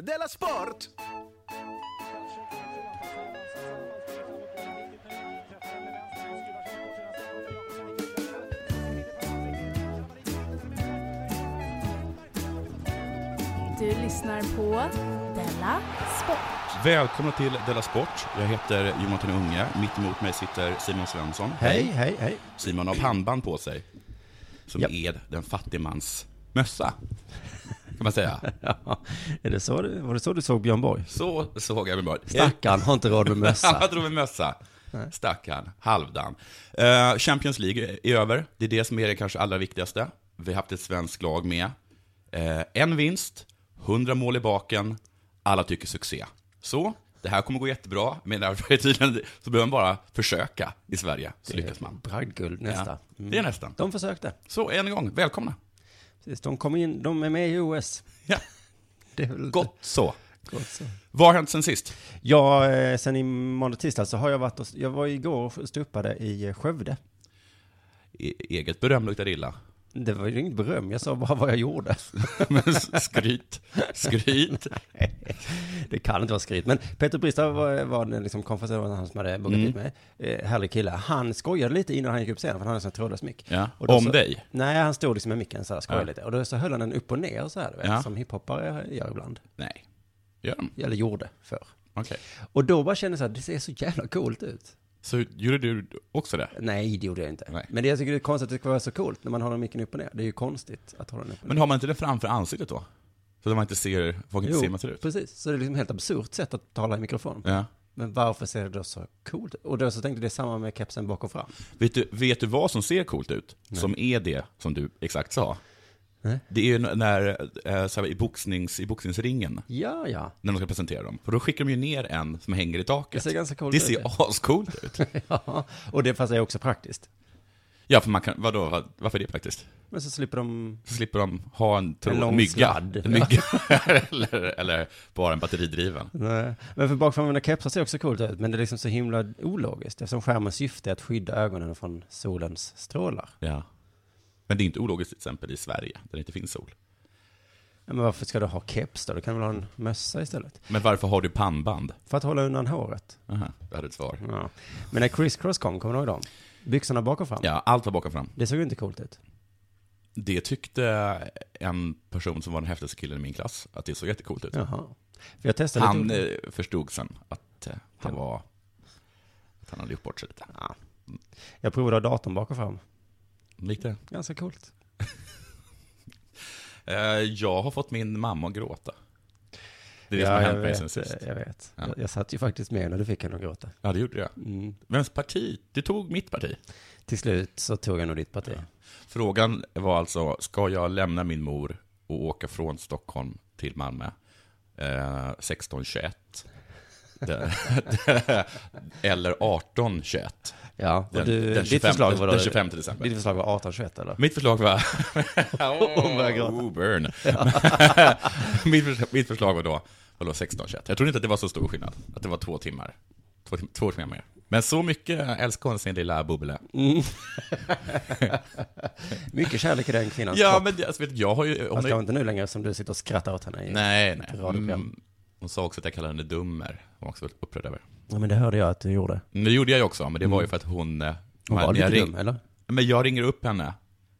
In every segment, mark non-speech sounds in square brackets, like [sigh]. Della Sport! Du lyssnar på Della Sport. Välkomna till Della Sport. Jag heter Jonathan Unge. Mitt emot mig sitter Simon Svensson. Hej, hej, hej. Simon har pannband på sig. Som Ja. är den fattigmans mössa. Kan [laughs] man säga. Ja, är det så, du- var det så du såg Björn Borg? Så såg jag min börd. Stackarn, har inte råd med Han mössa. hade nog en mössa. Stackarn. Halvdan. Eh, Champions League är över. Det är det som är det kanske allra viktigaste. Vi har haft ett svenskt lag med. Eh, en vinst, 100 mål i baken. Alla tycker succé. Så, det här kommer gå jättebra. Men därför är tydligen, så behöver man bara försöka i Sverige, så lyckas man. Bragdguld Ja, nästa. Mm. det är nästan. De försökte. Så, än en [laughs] gång, välkomna. Precis, de kom in, de är med i OS. Ja, [laughs] Det är väl lite gott så. gott så. Vad har hänt sen sist? Ja, eh, sen i måndag, tisdag så har jag varit och, jag var igår och stupade i eh, Skövde. E- Eget beröm luktar illa. [laughs] Det var ju inget beröm, jag sa bara [laughs] vad jag gjorde. Men skryt, [laughs] skryt. Det kan inte vara skryt. Men Peter Bristad var, var den liksom konferensen han som hade bokat hit mig. Eh, härlig kille. Han skojade lite innan han gick upp scenen, för han hade en sån här trådlös mick. Ja, Och då om så, dig? Nej, han stod liksom med micken så här, skojade Ja. lite. Och då så höll han den upp och ner så här, du vet, Ja. som hiphoppare gör ibland. Nej, gör de? Eller gjorde förr. Okej. Och då bara kände jag så här, det ser så jävla coolt ut. Så gjorde du också det? Nej, det gjorde jag inte. Nej. Men det jag tycker det är konstigt att det ska vara så coolt när man håller micken upp och ner. Det är ju konstigt att hålla den upp och ner. Men har man inte den framför ansiktet då? Så att man inte ser, folk inte ser hur man ser ut? precis. Så det är liksom helt absurt sätt att tala i mikrofon. Ja. Men varför ser det då så coolt ut? Och då så tänkte jag det är samma med kepsen bak och fram. Vet du, vet du vad som ser coolt ut? Som är det som du exakt sa? Nej. Det är ju n- när, eh, så här, i, boxnings, i boxningsringen, Ja, ja. när de ska presentera dem. För då skickar de ju ner en som hänger i taket. Det ser ganska coolt Det ut, ser ascoolt ut. [laughs] ja. Och det fast är också praktiskt. Ja, för man kan, vadå, vad- varför är det praktiskt? Men så slipper de... Så slipper de ha en, tråd, En lång mygga. sladd. En mygga. [laughs] eller, eller bara en batteridriven. Nej. Men för bakframvända kepsar ser också coolt ut, men det är liksom så himla ologiskt eftersom skärmens syfte är att skydda ögonen från solens strålar. Ja. Men det är inte ologiskt till exempel i Sverige, där det inte finns sol. Ja, Men varför ska du ha keps då? Du kan väl ha en mössa istället? Men varför har du pannband? För att hålla undan håret. Aha, jag hade ett svar. Ja. Men när Criss Cross kom, kommer du ihåg dem? Byxorna bak och fram. Ja, allt var bakom fram. Det såg ju inte coolt ut. Det tyckte en person som var den häftigaste killen i min klass, att det såg jättecoolt ut. Jaha. För jag testade Han lite... eh, förstod sen att eh, han var... Att han hade gjort bort sig lite. Ja. Jag provade att ha datorn bak och fram. Lite. Ganska coolt. Eh, jag har fått min mamma att gråta. Det är det ja, som har jag hänt mig vet, sen sist. Jag vet. Ja. Jag, jag satt ju faktiskt med när du fick henne att gråta. Ja, det gjorde jag. Mm. Vems parti? Du tog mitt parti. Till slut så tog jag nog ditt parti. Frågan var alltså, ska jag lämna min mor och åka från Stockholm till Malmö eh, 16.21? Det- [laughs] Eller 18.21? Ja, och Den, du, den, 25, ditt förslag var den 25 december. Ditt förslag var 18-21 eller? Mitt förslag [laughs] [laughs] var... Hon börjar gråta. Oh, burn. [laughs] mitt, förs- mitt förslag var då, var då 16.21. Jag trodde inte att det var så stor skillnad, att det var två timmar. Två, tim- två timmar mer. Men så mycket älskar hon sin lilla bubbla. Mycket kärlek i den kvinnans Ja, kropp. men det- alltså, vet, du, jag har ju... Hon Fast har ju kanske inte nu längre som du sitter och skrattar åt henne. i- Nej, nej. radioprogram. Mm. Hon sa också att jag kallade henne dummer. Hon var också väldigt upprörd över. Ja, men det hörde jag att du gjorde. Men Det gjorde jag ju också, men det var ju för att hon... eh, Mm. Hon när var lite jag ring- dum, eller? Men jag ringer upp henne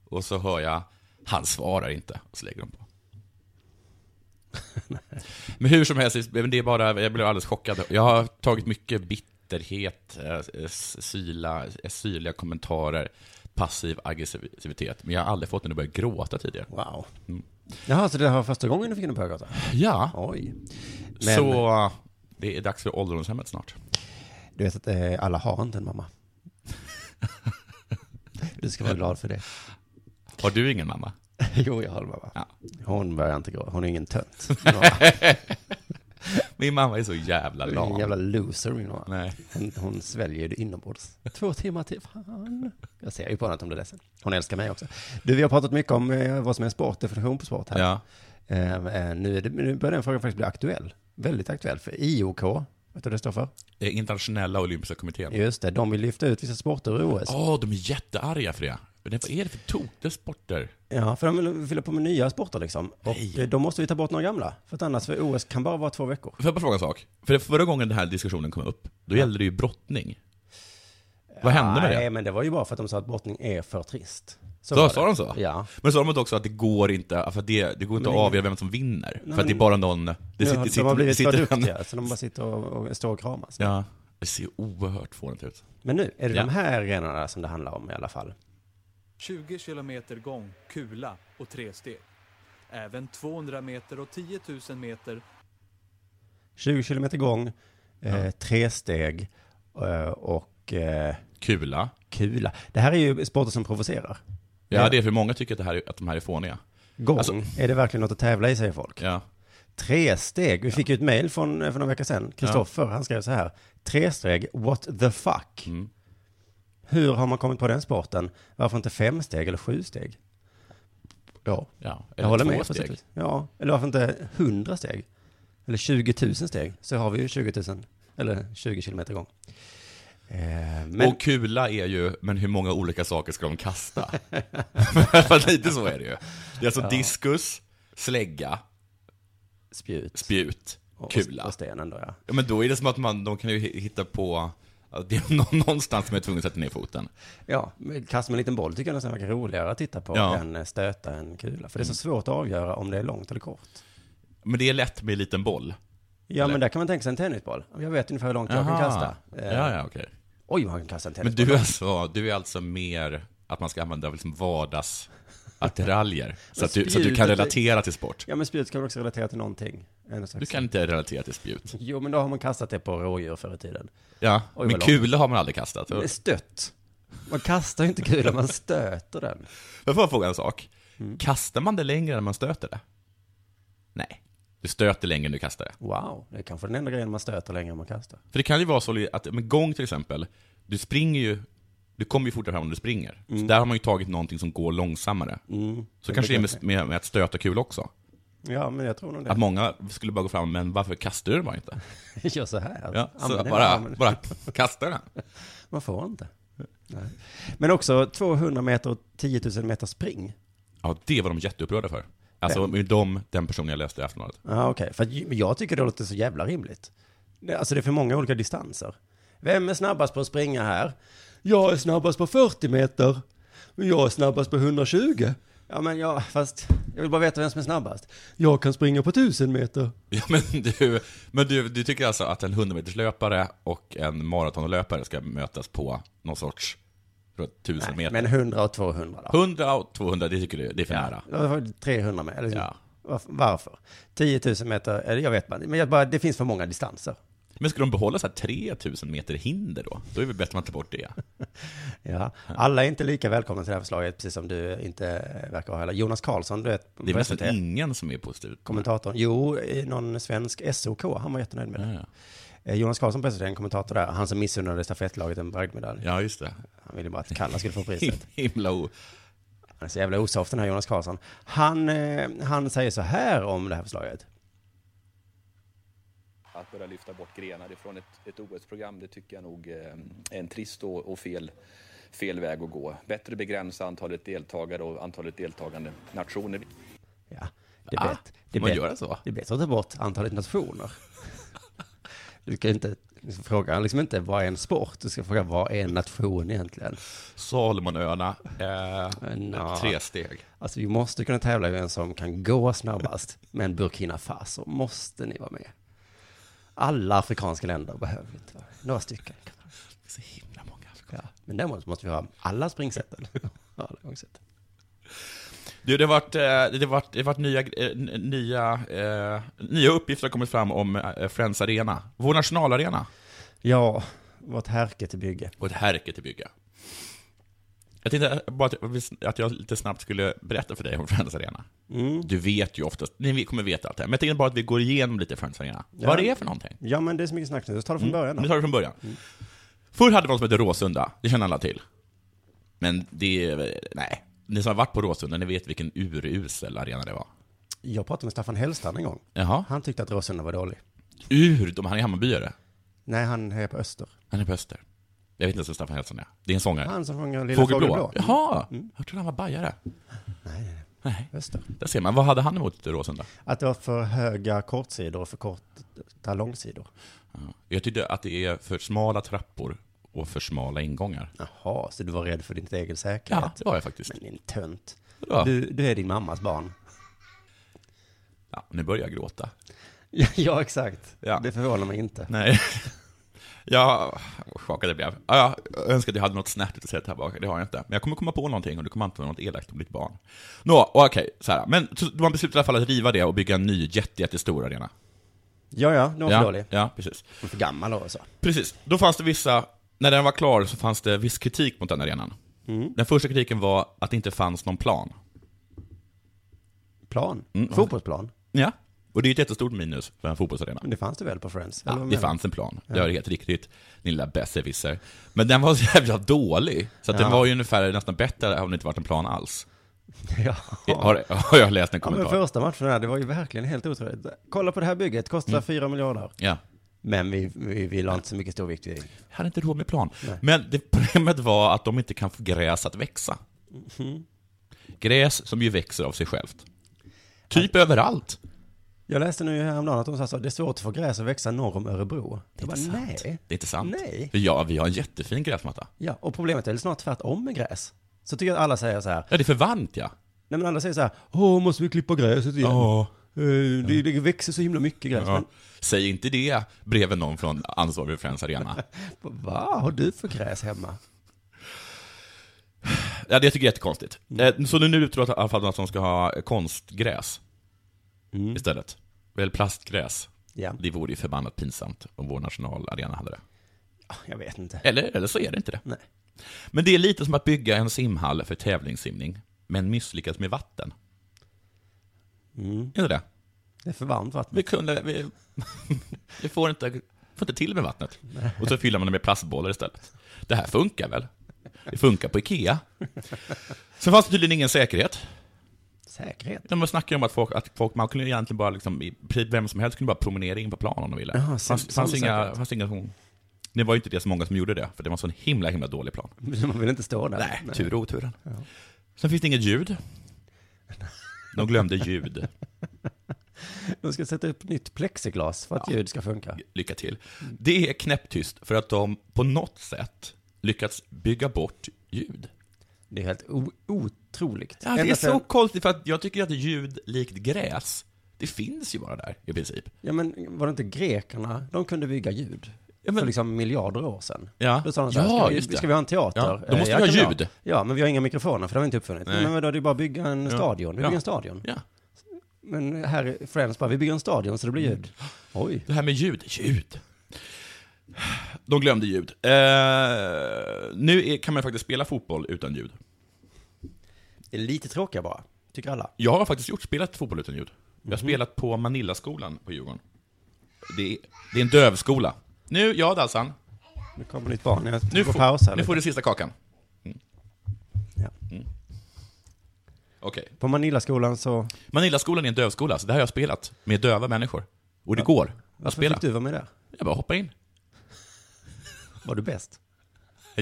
och så hör jag, han svarar inte. Och så lägger [laughs] hon på. men hur som helst, men det är bara, jag blev alldeles chockad. Jag har tagit mycket bitterhet, eh, eh, syla, eh, syrliga kommentarer, passiv aggressivitet. Men jag har aldrig fått henne att börja gråta tidigare. Wow. Jaha, så det här var första gången du fick henne på ögat? Ja, Oj. Men så eh, det är dags för ålderdomshemmet snart. du vet att eh, alla har inte en [laughs] mamma. Du ska vara glad för det. Har du ingen mamma? [laughs] Jo, jag har en mamma. Ja. Hon börjar inte gå. Hon är ingen [laughs] tönt. Hon har- Min mamma är så jävla Hon är en lam. jävla loser, min mamma. Nej. Hon, hon sväljer det inombords. Två timmar till, fan. Jag ser ju på henne att hon blir ledsen. Hon älskar mig också. Du, vi har pratat mycket om eh, vad som är en sport, definition på sport här. Ja. Eh, eh, nu, är det, nu börjar den frågan faktiskt bli aktuell. Väldigt aktuell, för IOK, vet du vad det står för? Eh, Internationella olympiska kommittén. Just det, de vill lyfta ut vissa sporter ur OS. Åh, de är jättearga för det. Men det- vad är det för tok? Det är sporter. Ja, för de vill fylla på med nya sporter liksom. Och Nej. eh, då måste vi ta bort några gamla. För att annars, för OS kan bara vara två veckor. Får jag bara fråga en sak? För förra gången den här diskussionen kom upp, då gällde det ju brottning. Vad hände med Nej, det? men det var ju bara för att de sa att brottning är för trist. Så Då var sa det. de så? Ja. Men sa de inte också att det går inte, för att det, det går inte att avgöra vem som vinner? för att det är bara någon... Det Nu sitter, har- de sitter- har blivit sitter för en- duktiga, så de bara sitter och, och står och kramas. Ja. Det ser oerhört fånigt ut. Men nu är det Ja. de här grenarna som det handlar om i alla fall. 20 kilometer gång, kula och tre steg. Även 200 meter och 10 000 meter 20 kilometer gång, eh, tre steg eh, och eh, Kula. kula. Det här är ju sporter som provocerar. Ja, Ja. det är för många tycker att, det här, är- att de här är fåniga. Gång, Alltså- är det verkligen något att tävla i, säger folk. Ja. Tre steg, vi fick ju ett mejl från, eh, för några veckor sedan. Kristoffer, han skrev så här. Tre steg, what the fuck? Mm. Hur har man kommit på den sporten? Varför inte fem steg eller sju steg? Ja, ja. jag Eller håller två med. på sätt och vis. Ja, eller varför inte 100 steg? Eller 20 000 steg, så har vi ju 20 000, eller 20 kilometer gång. Eh, men Och kula är ju, men hur många olika saker ska [laughs] de kasta? [laughs] För lite så är det ju. Det är alltså diskus, slägga, spjut spjut, och, kula. och stenen då, ja. Ja, men då är det som att man, de kan ju hitta på, att det är [laughs] någon, någonstans som är tvungen att sätta ner foten. Ja, men kast med en liten boll tycker jag nästan verkar roligare att titta på Ja. Mm. än eh, stöta en kula. För det är så svårt att avgöra om det är långt eller kort. Men det är lätt med en liten boll. Ja, Eller? men där kan man tänka sig en tennisboll. Jag vet ungefär hur långt jag kan Aha. kasta. Eh, Ja, ja, okej. Oj, vad han kan kasta en Men tennisboll. du är, alltså, du är alltså mer att man ska använda liksom [laughs] vardagsattiraljer, så, att du, så att du kan spjutet är- relatera till sport. Ja, men spjut ska väl också relatera till någonting. En Du slags... kan inte relatera till spjut. Jo, men då har man kastat det på rådjur förr i tiden. Ja, vad men långt. kula har man aldrig kastat. Men Stött. Man kastar ju inte kulan, man stöter den. Jag får fråga en sak. Kastar man det längre än man stöter det? Nej. Du stöter längre än du kastar det. Wow, det är kanske den enda grejen man stöter längre än man kastar. För det kan ju vara så att, med gång till exempel, du springer ju, du kommer ju fortare fram om du springer. Så där har man ju tagit någonting som går långsammare. Mm. Så kanske Mm. det är brukar med, jag med, med att stöta kul också. säga. Ja, men jag tror nog Att det. många skulle bara gå fram, men varför kastar du den bara inte? [laughs] Gör så här. Ja, så Använd den, bara, använd den. bara kasta den. Man får inte. Nej. Men också 200 meter och 10 000 meter spring. Ja, det var de jätteupprörda för. Alltså, de, den personen jag läste i Aftonbladet. Ja, okej. För att ju- men jag tycker det låter så jävla rimligt. Det, alltså det är för många olika distanser. Vem är snabbast på att springa här? Jag är snabbast på 40 meter. Men jag är snabbast på 120. Ja, men jag, fast jag vill bara veta vem som är snabbast. Jag kan springa på 1000 meter. [laughs] Ja, men du, men du, du tycker alltså att en 100-meterslöpare och en maratonlöpare ska mötas på någon sorts tror jag, 1000 meter? Men 100 och 200 då? 100 och 200, det tycker du, det är för nära. Ja, det var 300 meter. Eller, Ja. varf- Varför? 10 000 meter, eller jag vet inte. Men jag bara, det finns för många distanser. Men ska de behålla så här 3000 meter hinder då? Då är det bättre att man tar bort det. Ja, alla är inte lika välkomna till det här förslaget, precis som du inte eh, verkar ha heller. Jonas Karlsson, du vet, Det är på väl nästan SVT. ingen som är positiv. kommentatorn. Jo, eh, någon svensk SOK, han var jättenöjd med det. Ja, ja. Eh, Jonas Karlsson, president, kommentator där, han som missunnade stafettlaget en bragdmedalj. ja, just det. Han ville bara att Kalla skulle få [laughs] priset. Himla o... Han är så jävla osoft den här Jonas Karlsson. Han, eh, han säger så här om det här förslaget. Att börja lyfta bort grenar ifrån ett, ett OS-program, det tycker jag nog eh, är en trist och, och fel, fel väg att gå. Bättre begränsa antalet deltagare och antalet deltagande nationer. Ja, det Ah, är bättre. Det är man bättre- göra så? Det är bättre att ta bort antalet nationer. [laughs] Du ska inte fråga liksom inte vad är en sport, du ska fråga vad är en nation egentligen. Salomonöarna, eh, Nå. tre steg. Alltså vi måste kunna tävla i vem som kan gå snabbast. Men Burkina Faso, måste ni vara med? Alla afrikanska länder behöver vi inte vara Några stycken. kan vara. Det är så himla många. Ja. Men däremot måste vi ha alla [laughs] springsätten. Alla gångsätten. Du, det har varit, eh, det har varit, det har varit nya, eh, n- nya, eh, nya uppgifter har kommit fram om eh, Friends Arena. Vår nationalarena. Ja, vårt härke till bygge. Och ett härke till bygga. Jag tänkte bara att- vi- att jag lite snabbt skulle berätta för dig om Friends Arena. Mm. Du vet ju oftast, ni kommer veta allt det här, men jag tänkte bara att vi går igenom lite Friends Arena. Vad det är för någonting. Ja, men det är så mycket snack nu. Så ta det från början Vi då. tar det från början. Förr hade vi något som hette Råsunda, det känner alla till. Men det, är- nej. Ni som har varit på Råsunda, ni vet vilken urusel arena det var. Jag pratade med Staffan Hellstrand en gång. Jaha. Han tyckte att Råsunda var dålig. Ur, de, han är Hammarbyare. Nej, han är på Öster. Han är på Öster. Jag vet inte ens vem Staffan Hellström är. Det är en sångare. Han som sjunger Lilla Fågelblå. Jaha, jag trodde han var bajare. Nej. Just det. Där ser man. Vad hade han emot Råsunda? Att det var för höga kortsidor och för korta långsidor. Jag tyckte att det är för smala trappor och för smala ingångar. Jaha, så du var rädd för din egen Ja, säkerhet? det var jag faktiskt. Men din tönt. Vadå? Du, du är din mammas barn. [laughs] Ja, nu börjar jag gråta. ja, exakt. Ja. Det förvånar mig inte. Nej. [laughs] Jag skakade jag blev. Ja, ja, jag önskar att jag hade något snärtigt att säga här bak. Det har jag inte. Men jag kommer komma på någonting och det kommer antagligen vara något elakt om ditt barn. Nå, okej. så här. Men så man beslutade i alla fall att riva det och bygga en ny jätte, jättestor arena. Ja, ja, den var för Ja, dålig. ja, precis. Den var för gammal alltså. och så. Precis. Då fanns det vissa, när den var klar så fanns det viss kritik mot den arenan. Mm. Den första kritiken var att det inte fanns någon plan. Plan. Fotbollsplan. Mm, Ja. Och det är ett jättestort minus för en fotbollsarena. Men det fanns det väl på Friends? Eller Ja, vad det menar fanns en plan. Det är helt riktigt, din lilla besserwisser. Men den var så jävla dålig, så att den var ju ungefär nästan bättre om det inte varit en plan alls. du? Ja. Har, har jag läst en Ja, men kommentar? Ja, första matchen här, det var ju verkligen helt otroligt. Kolla på det här bygget, kostar Mm. 4 miljarder. Men vi, vi, vi la inte så mycket stor vikt vid det. Jag hade inte råd med plan. Men det problemet var att de inte kan få gräs att växa. Mhm. Gräs som ju växer av sig självt. Typ överallt. Jag läste nu häromdagen att de sa så, det är svårt att få gräs att växa norr om Örebro. Det var nej. Det är inte sant. Nej. För ja, vi har en jättefin gräsmatta. Ja, och problemet är väl snart tvärtom med gräs. Så tycker jag att alla säger så här, Ja, det är för varmt ja. nej men alla säger så här, åh måste vi klippa gräset igen? Ja. Eh, Det, det växer så himla mycket gräs. ja. Säg inte det bredvid någon från ansvarig för Friends Arena. Men, vad har du för gräs hemma? Ja, det tycker jag är jättekonstigt. Eh, Så nu- nu tror jag i alla fall att de ska ha konstgräs istället. Eller plastgräs. Ja, Det vore ju förbannat pinsamt om vår nationalarena hade det. jag vet inte. Eller, eller så är det inte det. Nej. Men det är lite som att bygga en simhall för tävlingssimning, men misslyckas med vatten. Mm. Är det det? Det är för varmt vatten. Vi kunde... Vi, vi får, inte, får inte till med vattnet. Och så fyller man det med plastbollar istället. Det här funkar väl? Det funkar på Ikea. Sen fanns det tydligen ingen säkerhet. Säkerhet. De snackade om att folk, att folk man kunde egentligen bara liksom, i princip vem som helst kunde bara promenera in på planen om de ville. Jaha, så- fanns, så fanns, inga, säkert. fanns inga som, det var ju inte det så många som gjorde det, för det var en sån himla, himla dålig plan. Man vill inte stå där. Nej, typ. tur och oturen. Sen finns det inget ljud. De glömde ljud. De ska sätta upp nytt plexiglas för att ljud ska funka. Lycka till. Det är knäpptyst för att de på något sätt lyckats bygga bort ljud. Det är helt o- otroligt. Ja, det Ända är sedan- så konstigt, för att jag tycker att ljud likt gräs, det finns ju bara där i princip. Ja, men var det inte grekerna? De kunde bygga ljud. Ja, men- För liksom miljarder år sedan. Ja. Då sa de så här, Ja, ska, vi, just det. ska vi ha en teater? Ja, då Eh, måste ja, vi ha kan ljud. Ha. Ja, men vi har inga mikrofoner för det har vi inte uppfunnit. Nej. Men vadå, det är bara att bygga en stadion. Vi Ja. bygger en stadion. Ja. Men här i Friends bara, vi bygger en stadion så det blir ljud. Mm. Oj. Det här med ljud, ljud. De glömde ljud. Eh, nu är, kan man faktiskt spela fotboll utan ljud. Det är lite tråkiga bara, tycker alla. Jag har faktiskt gjort spelat fotboll utan ljud. Jag Mhm. har spelat på Manillaskolan på Djurgården. Det är, det är en dövskola. Nu, ja Dalsan. Nu kommer ditt barn, jag Nu, får får- pausa nu lite. får du sista kakan. Mm. Ja. Okej. På Manillaskolan så, Manillaskolan är en dövskola, så där har jag spelat med döva människor. Och det går att varför spela. fick du vara med där? Jag bara hoppar in. [laughs] Var du bäst?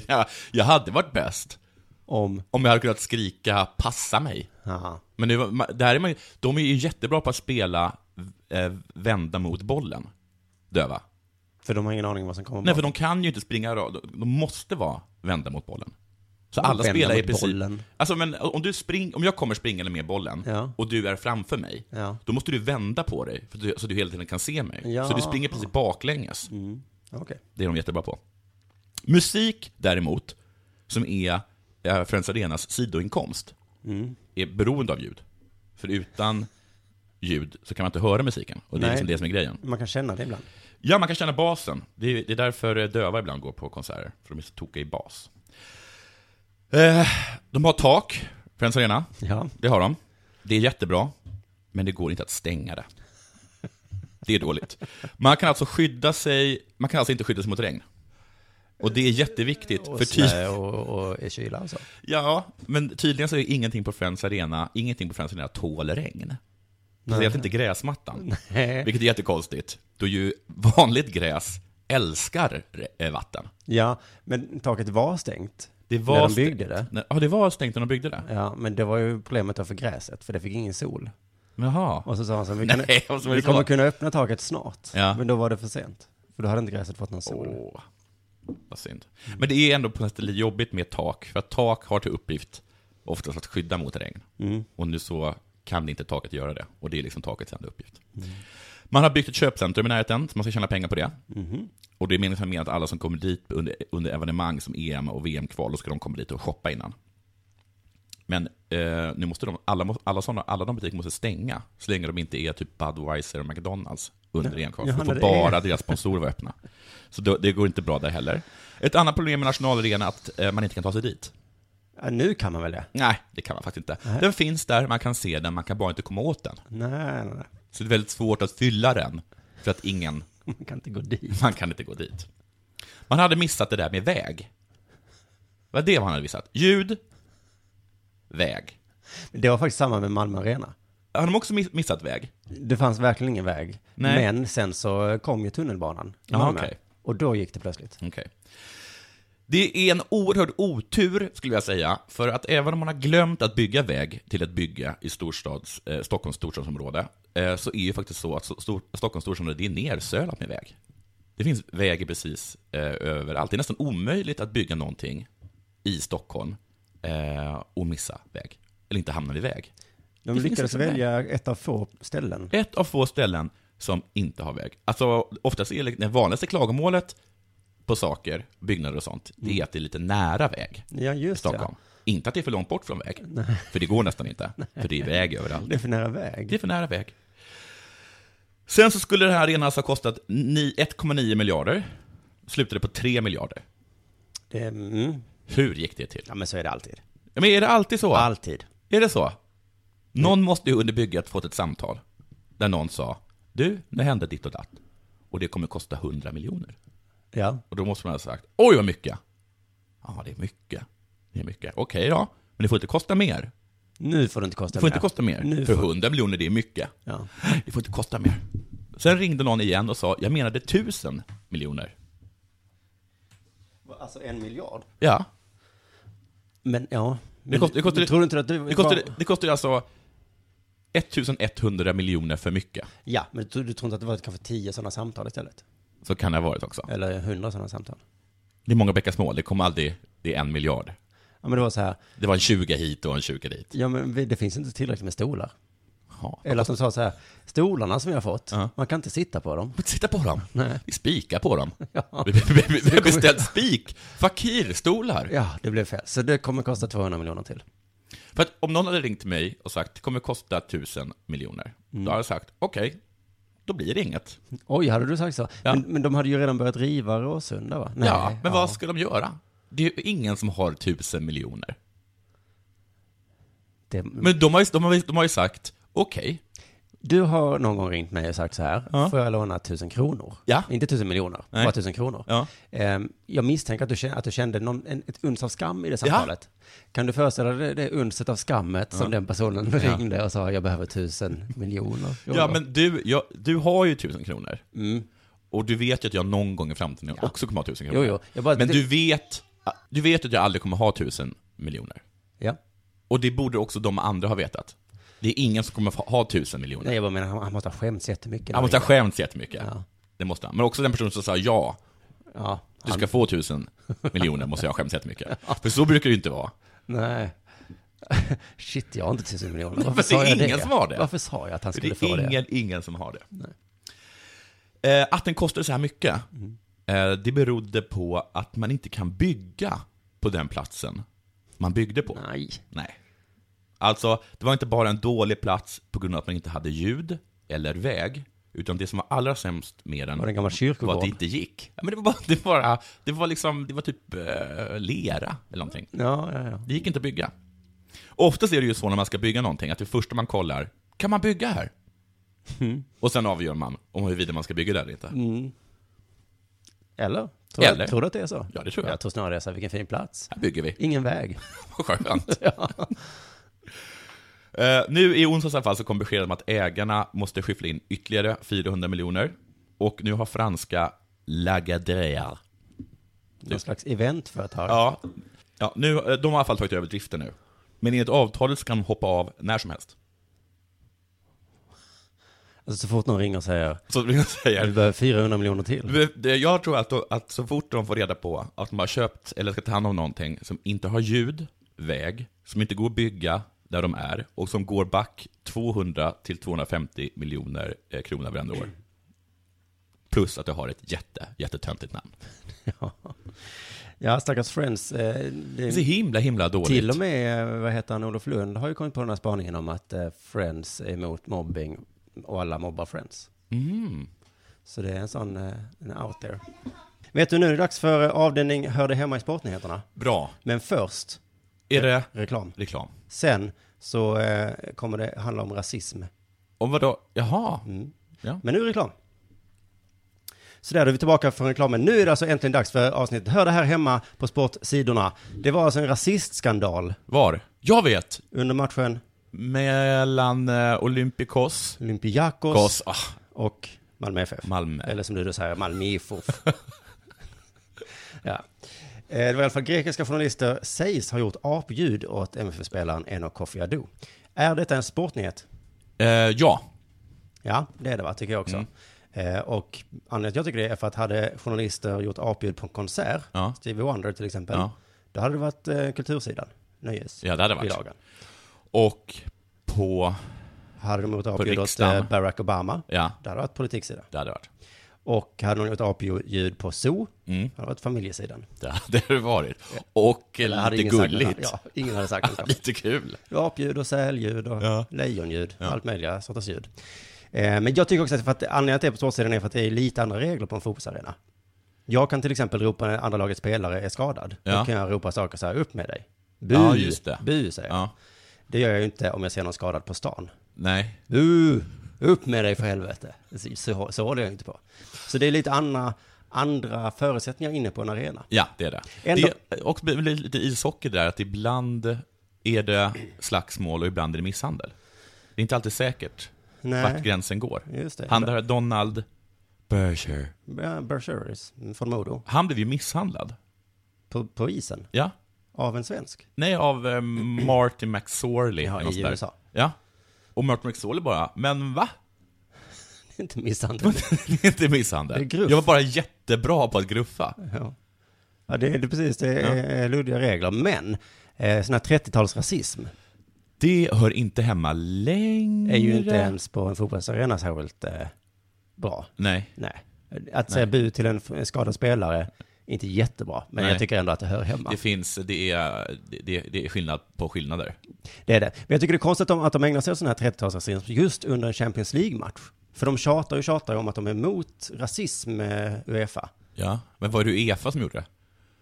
Jag, jag hade varit bäst Om, om jag hade kunnat skrika 'passa mig' haha. Men nu, ma- där är man, ju- de är ju jättebra på att spela eh, vända mot bollen, döva. För de har ingen aning om vad som kommer Nej, för de kan ju inte springa rakt, de måste vara vända mot bollen. Så alla Vända spelar i mot princip... bollen. Alltså, men om, du spring, om jag kommer springande med bollen Ja. och du är framför mig, Ja. då måste du vända på dig för att du, så du hela tiden kan se mig. Ja. Mm. Så du springer precis baklänges. Okej. Det är de jättebra på. Musik däremot, som är eh, Friends Arenas sidoinkomst, Mm. är beroende av ljud. För utan ljud så kan man inte höra musiken. Och det är Nej. liksom det som är grejen. Man kan känna det ibland. Ja, man kan känna basen. Det är, det är därför eh, döva ibland går på konserter, för de är så tokiga i bas. Eh, de har tak, Friends Arena. Ja. Det har de. Det är jättebra, men det går inte att stänga det. Det är dåligt. Man kan alltså skydda sig, man kan alltså inte skydda sig mot regn. Och det är jätteviktigt, för Och ty- snö och, och är kyla och så. ja, men tydligen så är ingenting på Friends Arena, ingenting på Friends Arena tål regn. Alltså, Speciellt inte gräsmattan, vilket är jättekonstigt, då ju vanligt gräs älskar eh, vatten. Ja, men taket var stängt. Det var när de st- byggde det. Nej, Ja, det var stängt när de byggde det? Ja, men det var ju problemet då för gräset, för det fick ingen sol. Jaha. Och så sa han så här, vi, kan, Nej, och så var vi det kommer så. kunna öppna taket snart. Ja. Men då var det för sent. För då hade inte gräset fått någon sol. Åh, vad synd. Men det är ändå på något sätt lite jobbigt med tak, för att tak har till uppgift oftast att skydda mot regn. Och nu så kan inte taket göra det, och det är liksom takets enda uppgift. Man har byggt ett köpcentrum i närheten, så man ska tjäna pengar på det. Mhm. Och det är meningen med att alla som kommer dit under, under evenemang som EM och VM-kval, då ska de komma dit och shoppa innan. Men eh, nu måste de, alla, må- alla, såna, alla de butiker måste stänga, så länge de inte är typ Budweiser och McDonalds under EM-kvalet. Johanna, Då får det bara är- deras sponsorer vara öppna. Så då, det går inte bra där heller. Ett annat problem med nationalarenan är att eh, man inte kan ta sig dit. Ja, nu kan man väl det? Nej, det kan man faktiskt inte. Den finns där, man kan se den, man kan bara inte komma åt den. Nej, nej, nej. Så det är väldigt svårt att fylla den, för att ingen, Man kan inte gå dit. man kan inte gå dit. Man hade missat det där med väg. Vad det var han hade missat? Ljud, väg. Det var faktiskt samma med Malmö Arena. Har de också miss- missat väg? Det fanns verkligen ingen väg. Nej. Men sen så kom ju tunnelbanan i Ja, Malmö. okej. Och då gick det plötsligt. Okej. Det är en oerhörd otur, skulle jag säga, för att även om man har glömt att bygga väg till ett bygge i storstads, eh, Stockholms storstadsområde, eh, så är ju faktiskt så att so- stor, Stockholms storstadsområde det är nersölat med väg. Det finns väg precis eh, överallt. Det är nästan omöjligt att bygga någonting i Stockholm eh, och missa väg, eller inte hamna vid väg. De Det finns lyckades liksom väg. välja ett av få ställen. Ett av få ställen som inte har väg. Alltså, oftast är det vanligaste klagomålet på saker, byggnader och sånt, det är att det är lite nära väg. Ja, i Mm. just det. Stockholm. Inte att det är för långt bort från väg, för det går nästan inte, för det är väg överallt. Det är för nära Det är väg. för nära väg. Sen så skulle den här arenan alltså ha kostat ni- 1,9 miljarder, slutade på 3 miljarder. Det, mm. Hur gick det till? Ja, men så är det alltid. Ja, Men är det alltid så? Alltid. Är det så? Mm. Någon måste ju under bygget fått ett samtal, där någon sa, du, nu hände ditt och datt, och det kommer kosta 100 miljoner. Ja. Och då måste man ha sagt, oj vad mycket! Ja, det är mycket. Det är mycket. Okej ja, men det får inte kosta mer. Nu får det inte kosta Det får mer. inte kosta mer. Nu för får- 100 miljoner, det är mycket. Ja. Det får inte kosta mer. Sen ringde någon igen och sa, jag menade 1000 miljoner. Alltså en miljard. Ja. Men ja. Men, kost- det kostar- men tror du inte att du... Det kostade, det kostade alltså 1100 miljoner för mycket. Ja, men du, du tror inte att det var kanske tio sådana samtal istället? Så kan det ha varit också. Eller hundra sådana samtal? Det är många bäckar små, det kommer aldrig, det är en miljard. Ja, men det var så här, Det var en 20 hit och en 20 dit. ja men vi- det finns inte tillräckligt med stolar. Ja. Eller att de sa så här, stolarna som vi har fått, Ja. man kan inte sitta på dem. Vi får inte sitta på dem. Nej. Vi spikar på dem. [laughs] Ja. Vi, vi, vi, vi har beställt spik, fakirstolar. Ja, det blev fel. Så det kommer kosta 200 miljoner till. För att om någon hade ringt mig och sagt det kommer kosta 1000 miljoner, Mm. då hade jag sagt okej, då blir det inget. Oj, hade du sagt så? Ja. Men, men de hade ju redan börjat riva Råsunda va? Nej, ja, men vad ska de göra? Det är ju ingen som har 1000 miljoner. det, Men de har ju, de har, ju- de har ju sagt okej, Du har någon gång ringt mig och sagt så här, Ja. får jag låna 1000 kronor? Ja. Inte 1000 miljoner, Nej. bara 1000 kronor. Ja. Ehm, Jag misstänker att du kände, att du kände någon, en, ett uns av skam i det samtalet. Kan du föreställa dig det unset av skammet som den personen ringde och sa, jag behöver 1000 miljoner? kronor?" ja men du, jag, du har ju 1000 kronor. Och du vet ju att jag någon gång i framtiden också kommer ha 1000 kronor. Mm. Jo, jo. Jag bara- men det- du vet, du vet att jag aldrig kommer ha 1000 miljoner. Ja. Och det borde också de andra ha vetat. Det är ingen som kommer få ha 1000 miljoner. Nej, jag bara menar, han, han måste ha skämts jättemycket. när Han måste ha ringde. skämts jättemycket. Ja. Det måste han. Men också den personen som sa ja, Ja, du ska få tusen miljoner, måste jag ha [laughs] skämts jättemycket. För så brukar det ju inte vara. nej. [laughs] Shit, jag har inte 1000 miljoner. Varför det är sa jag ingen som har det. Varför sa jag att han För skulle det få är det? ingen, ingen som har det. Eh, att den kostade så här mycket, Mm. eh, det berodde på att man inte kan bygga på den platsen man byggde på. Nej. Nej. Alltså, det var inte bara en dålig plats på grund av att man inte hade ljud eller väg, utan det som var allra sämst med den Var det en gammal var att det kyrkogård? inte gick. Ja, Men det var, bara, det, var bara, det var liksom, det var typ eh, lera eller någonting. Ja, ja, ja. Det gick inte att bygga. Oftast är det ju så när man ska bygga någonting, att det första man kollar, kan man bygga här? Mm. Och sen avgör man om huruvida man ska bygga där eller inte. Eller? Tror, Eller? Du, tror du att det är så? Ja, det tror jag. Jag tror snarare det är så här, vilken fin plats. Här bygger vi. Ingen väg. Vad skönt. Eh, nu i onsdags i alla fall så kom beskedet om att ägarna måste skyffla in ytterligare 400 miljoner. Och nu har franska Lagardère. Någon slags eventföretag. Ja. ja nu, eh, de har i alla fall tagit över driften nu. Men enligt avtalet ska de hoppa av när som helst. Alltså så fort någon ringer och säger Så vi vi säger, behöver 400 miljoner till. det- jag tror att, att så fort de får reda på att de har köpt eller ska ta hand om någonting som inte har ljud, väg, som inte går att bygga där de är och som går back 200 till 250 miljoner eh, kronor varenda år. Plus att det har ett jätte, jättetöntigt namn. Ja, stackars Friends. Eh, det Det är är så himla, himla dåligt. Till och med, eh, vad heter han, Olof Lund har ju kommit på den här spaningen om att eh, Friends är emot mobbing och alla mobbar Friends. Mm. Så det är en sån, eh, en out there. Vet du, nu är det dags för eh, avdelning Hör det hemma i sportnyheterna. Bra. Men först, Är det reklam. reklam? Sen så eh, kommer det handla om rasism. Om vadå? Jaha. Ja. Men nu reklam. Så där då är vi tillbaka från reklamen. Nu är det alltså äntligen dags för avsnittet Hör det här hemma på sportsidorna. Det var alltså en rasistskandal Var? Jag vet! under matchen Mellan eh, Olympikos, Olympiakos Kos, ah, och Malmö FF. Malmö. Eller som du då säger, Malmö IFOF. [laughs] ja. Eh, Det var i alla fall grekiska journalister sägs ha gjort apljud åt MFF-spelaren Enoch Kofi Adu. Är detta en sportnyhet? Eh, ja. Ja, det är det va, tycker jag Mm. också. Eh, och anledningen till att jag tycker det är för att hade journalister gjort apljud på en konsert, Ja. Stevie Wonder till exempel, Ja. då hade det varit eh, kultursidan, nöjes. ja, det hade varit. bilagan. Och på, Hade de gjort apljud åt riksdagen. eh, Barack Obama, ja, det hade varit politiksidan. det hade varit. Och hade de gjort apljud på zoo, Mm, det hade varit familjesidan. det hade det varit. Och Eller hade lite ingen sagt något gulligt. annat. Ja, ingen hade sagt något. [laughs] lite kul. Apljud och sälljud och Ja. lejonljud. Ja. Allt möjliga sorters ljud. Eh, men jag tycker också att, för att anledningen till att det är på sportsidan är för att det är lite andra regler på en fotbollsarena. Jag kan till exempel ropa när andra lagets spelare är skadad. Då Ja. kan jag ropa saker så här, upp med dig. Bu, Ja, just det. bu säger jag. Ja. Det gör jag ju inte om jag ser någon skadad på stan. Nej. Bu, upp med dig för helvete. Så, så, så håller jag inte på. Så det är lite andra, andra förutsättningar inne på en arena. Ja, det är det. Ändå- det är- och det blir lite ishockey där, att ibland är det slagsmål och ibland är det misshandel. Det är inte alltid säkert vart Nej, gränsen går. just det. Han där, Donald Berger, Ja, Berserkers från Modo. han blev ju misshandlad. På, på isen. Ja. Av en svensk. Nej, av eh, Marty McSorley. Ja, eller något i sånt där. USA. [laughs] Ja. Och Martin McSorley bara, men va? Inte misshandel. Det är [laughs] inte misshandel. Det är gruff. Jag var bara jättebra på att gruffa. ja. ja, det är det är precis. Det är luddiga regler. Men eh, sån här 30-talsrasism Det hör inte hemma längre. är ju inte ens på en fotbollsarena särskilt eh, bra. Nej. Nej. Att säga bu till en, f- en skadad spelare är inte jättebra. Men Nej. jag tycker ändå att det hör hemma. Det finns, det är, det, det är skillnad på skillnader. Det är det. Men jag tycker det är konstigt att de, att de ägnar sig åt sån här 30-talsrasism just under en Champions League-match. För de tjatar och tjatar om att de är emot rasism, eh, Uefa. Ja. Men var det Uefa som gjorde det?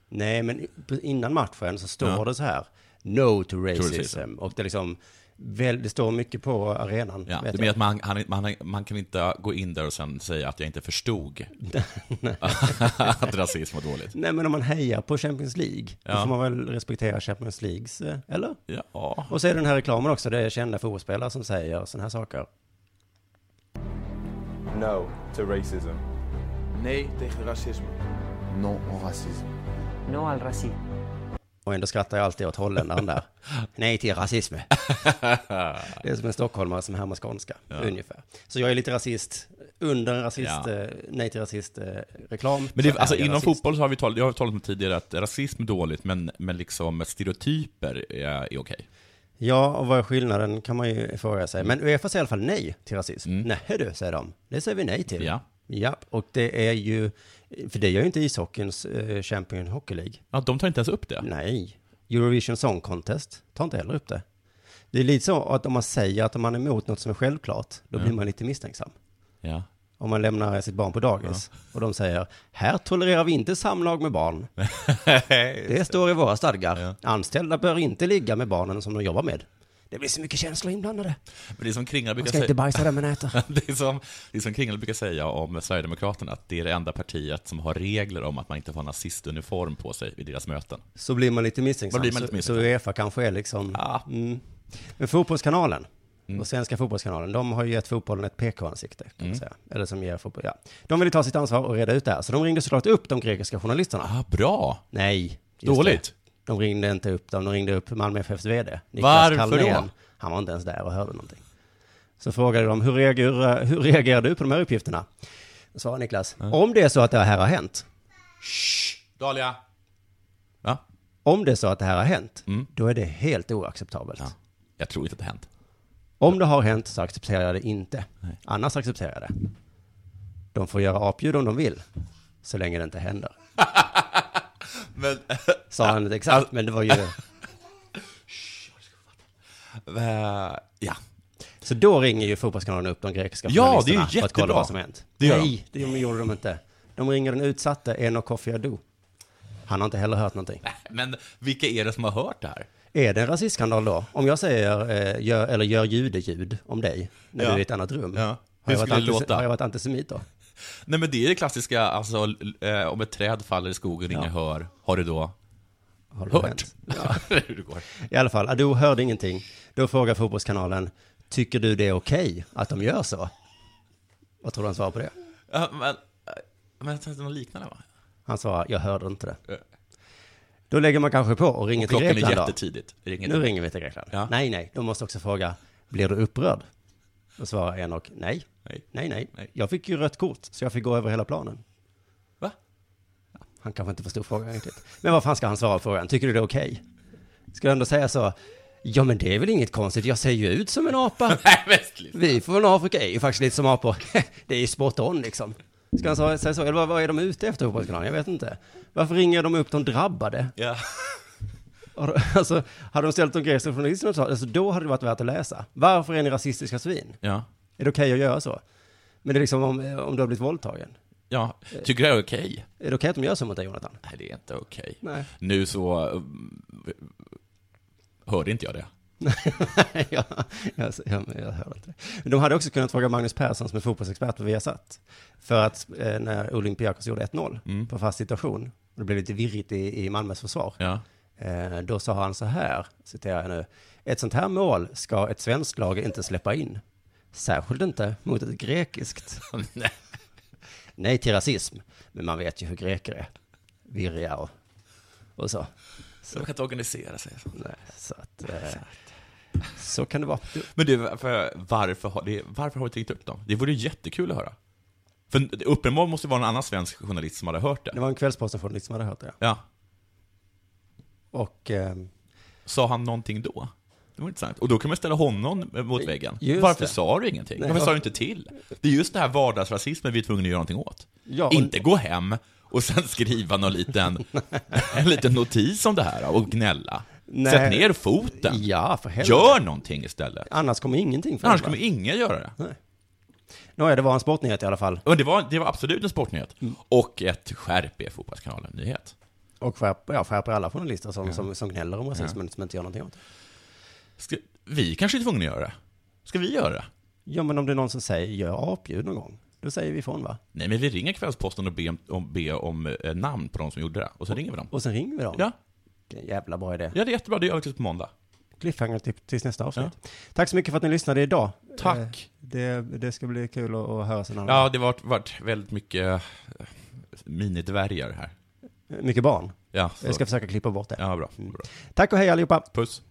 Nej, men innan matchen så står Ja. det så här. No to racism. racism. Och det är liksom, väl, det står mycket på arenan. Ja. vet Du jag. menar att man, han, man, man kan inte gå in där och sen säga att jag [laughs] inte förstod [laughs] att rasism var dåligt? Nej, men om man hejar på Champions League, då Ja. får man väl respektera Champions Leagues, eh, eller? Ja. Och så är det den här reklamen också, det är kända fotbollsspelare som säger sådana här saker. No to racism. Nee tegen racisme. Non au racisme. no al racismo. Och ändå skrattar jag alltid åt holländaren [laughs] där. Nej till rasism. det är som en stockholmare som härmar skånska, ungefär. Så jag är lite rasist, under en rasist, Ja. eh, nej till rasist-reklam. Men det, alltså, inom fotboll så har vi talat, jag har talat om tidigare att rasism är dåligt, men, men liksom stereotyper är, är okej. Ja, och vad är skillnaden kan man ju fråga sig. Men Uefa säger i alla fall nej till rasism. Nej du, säger de. Det säger vi nej till. Mm. Ja. Ja, och det är ju, för det gör ju inte ishockeyns eh, Champion Hockey League. Ja, de tar inte ens upp det. Nej. Eurovision Song Contest tar inte heller upp det. Det är lite så att om man säger att man är emot något som är självklart, då blir man lite misstänksam. Ja. Om man lämnar sitt barn på dagis och de säger, här tolererar vi inte samlag med [laughs] barn. Det står i våra stadgar. Ja. Anställda bör inte ligga med barnen som de jobbar med. Det blir så mycket känslor inblandade. Men det är som Kringla Man brukar ska inte säga... bajsa där man [laughs] äter. [laughs] Det är, som, det är som Kringla brukar säga om Sverigedemokraterna, att det är det enda partiet som har regler om att man inte får nazistuniform på sig vid deras möten. Så blir man lite misstänksam. Då blir man lite Så, misstänksam. så Uefa kanske är liksom... Ja. Mm. Mm. Men Fotbollskanalen, Mm. Och Svenska Fotbollskanalen, de har ju gett fotbollen ett PK-ansikte, kan man säga. Eller som ger fotboll, ja. De ville ta sitt ansvar och reda ut det här, så de ringde såklart upp de grekiska journalisterna. Ah, bra. Nej. just Dåligt. Det. De ringde inte upp dem, de ringde upp Malmö FFs VD. Varför Kalmén. då? Han var inte ens där och hörde någonting. Så frågade de, hur reagerar, hur reagerar du på de här uppgifterna? Då svarade Niklas, om det är så att det här har hänt, Dahlia. Va? om det är så att det här har hänt, Mm. då är det helt oacceptabelt. Ja. Jag tror inte att det hänt. Om det har hänt så accepterar jag det inte. Annars accepterar jag det. De får göra apljud om de vill, så länge det inte händer. [laughs] Men, Sa han inte exakt, men det var ju... eh, ja. Så då ringer ju Fotbollskanalen upp de grekiska Ja, det är ju journalisterna för att kolla jättebra. vad som hänt. Det gör Nej, det gjorde de inte. De ringer den utsatte Enok Kofi Adu. Han har inte heller hört någonting. [laughs] Men vilka är det som har hört det här? Är det en rasistskandal då? Om jag säger, eh, gör, eller gör judeljud om dig, när Ja. du är i ett annat rum. Ja. Har, Hur jag varit skulle det antis- låta? har jag varit antisemit då? Nej men det är det klassiska, alltså l- eh, om ett träd faller i skogen och ingen hör, har du då Har det hört? hänt? [laughs] Hur det går. I alla fall, Ado hörde ingenting. Då frågar Fotbollskanalen, tycker du det är okej att de gör så? Vad tror du han svarar på det? Ja, men, eh, men jag tänkte något liknande va? Han svarar, jag hörde inte det. Ja. Då lägger man kanske på och ringer till Klockan är Grekland då. jättetidigt. Ringer Nu det. ringer vi till Grekland. Ja. Nej, nej, de måste också fråga, blir du upprörd? Då svarar Enok, nej. Nej. Nej, nej, Nej. jag fick ju rött kort, så jag fick gå över hela planen. [laughs] Va? Han kanske inte förstod frågan riktigt. Men vad fan ska han svara på frågan? Tycker du det är okej? Ska jag ändå säga så? Ja, men det är väl inget konstigt, jag ser ju ut som en apa. [laughs] Nej, västligt. Vi från Afrika är ju faktiskt lite som apor. [laughs] Det är ju spot on liksom. Ska han sa- säga så? Eller vad, vad är de ute efter Fotbollskanalen? Jag vet inte. Varför ringer de upp de drabbade? Ja. Har de- [laughs] Alltså, hade de ställt de grekiska journalisterna och sa, alltså, då hade det varit värt att läsa. Varför är ni rasistiska svin? ja. Är det okej att göra så? Men det är liksom om, om du har blivit våldtagen. Ja, tycker du det är okej? Är det okej att de gör så mot dig, Jonathan? Nej, det är inte okej. Nej. Nu så mm, hörde inte jag det. [laughs] ja, jag, jag, jag hör inte det. Men De hade också kunnat fråga Magnus Persson som är fotbollsexpert på Viasat. För att eh, när Olympiakos gjorde 1-0 på fast situation, och det blev lite virrigt i, i Malmös försvar, Ja. eh, då sa han så här, citerar jag nu, ett sånt här mål ska ett svenskt lag inte släppa in. Särskilt inte mot ett [laughs] grekiskt. Nej. Nej till rasism, men man vet ju hur greker är. Virriga och, och så. De kan inte organisera sig. Nej, så att... Eh, så kan det vara. Du, Men du, varför, varför, har, det, varför har vi inte ringt upp dem? Det vore ju jättekul att höra. För uppenbarligen måste det vara någon annan svensk journalist som hade hört Det det. var en kvällspostenjournalist som liksom hade hört det. Ja. Och ehm, Sa han någonting då? Det var intressant. Och då kan man ställa honom eh, mot väggen. Just Varför det. sa du ingenting? Nej, Varför sa varför- du inte till? Det är just det här vardagsrasismen vi är tvungna att göra någonting åt. Ja, och- Inte gå hem och sen skriva [laughs] någon liten, en liten notis om det här och gnälla. Nej. Sätt ner foten. ja, för helvete. Gör någonting istället. Annars kommer ingenting för Annars det, va? kommer ingen göra det. Nåja, det var en sportnyhet i alla fall. Men det var, det var absolut en sportnyhet. Mm. Och ett skärp er Fotbollskanalen-nyhet. Och skärper, ja, skärper alla journalister som, som, som gnäller om rasism men som inte gör någonting åt det. Ska, vi kanske är tvungna att göra det. Ska vi göra det? Ja, men om det är någon som säger gör apljud någon gång, då säger vi ifrån va? Nej, men vi ringer Kvällsposten och ber om, om, ber om eh, namn på de som gjorde det. Och så ringer vi dem. Och sen ringer vi dem. Ja, Det är en jävla bra idé. ja det är jättebra. Det gör vi tills på måndag. Cliffhanger till, tills nästa avsnitt. Tack så mycket för att ni lyssnade idag. Eh, Tack. Det, det ska bli kul att, att höra sen annan Ja, det har varit, varit väldigt mycket eh, minidvärgar här. Mycket barn. Ja, så. Eh, Jag ska försöka klippa bort det. ja bra. bra. Tack och hej allihopa. Puss.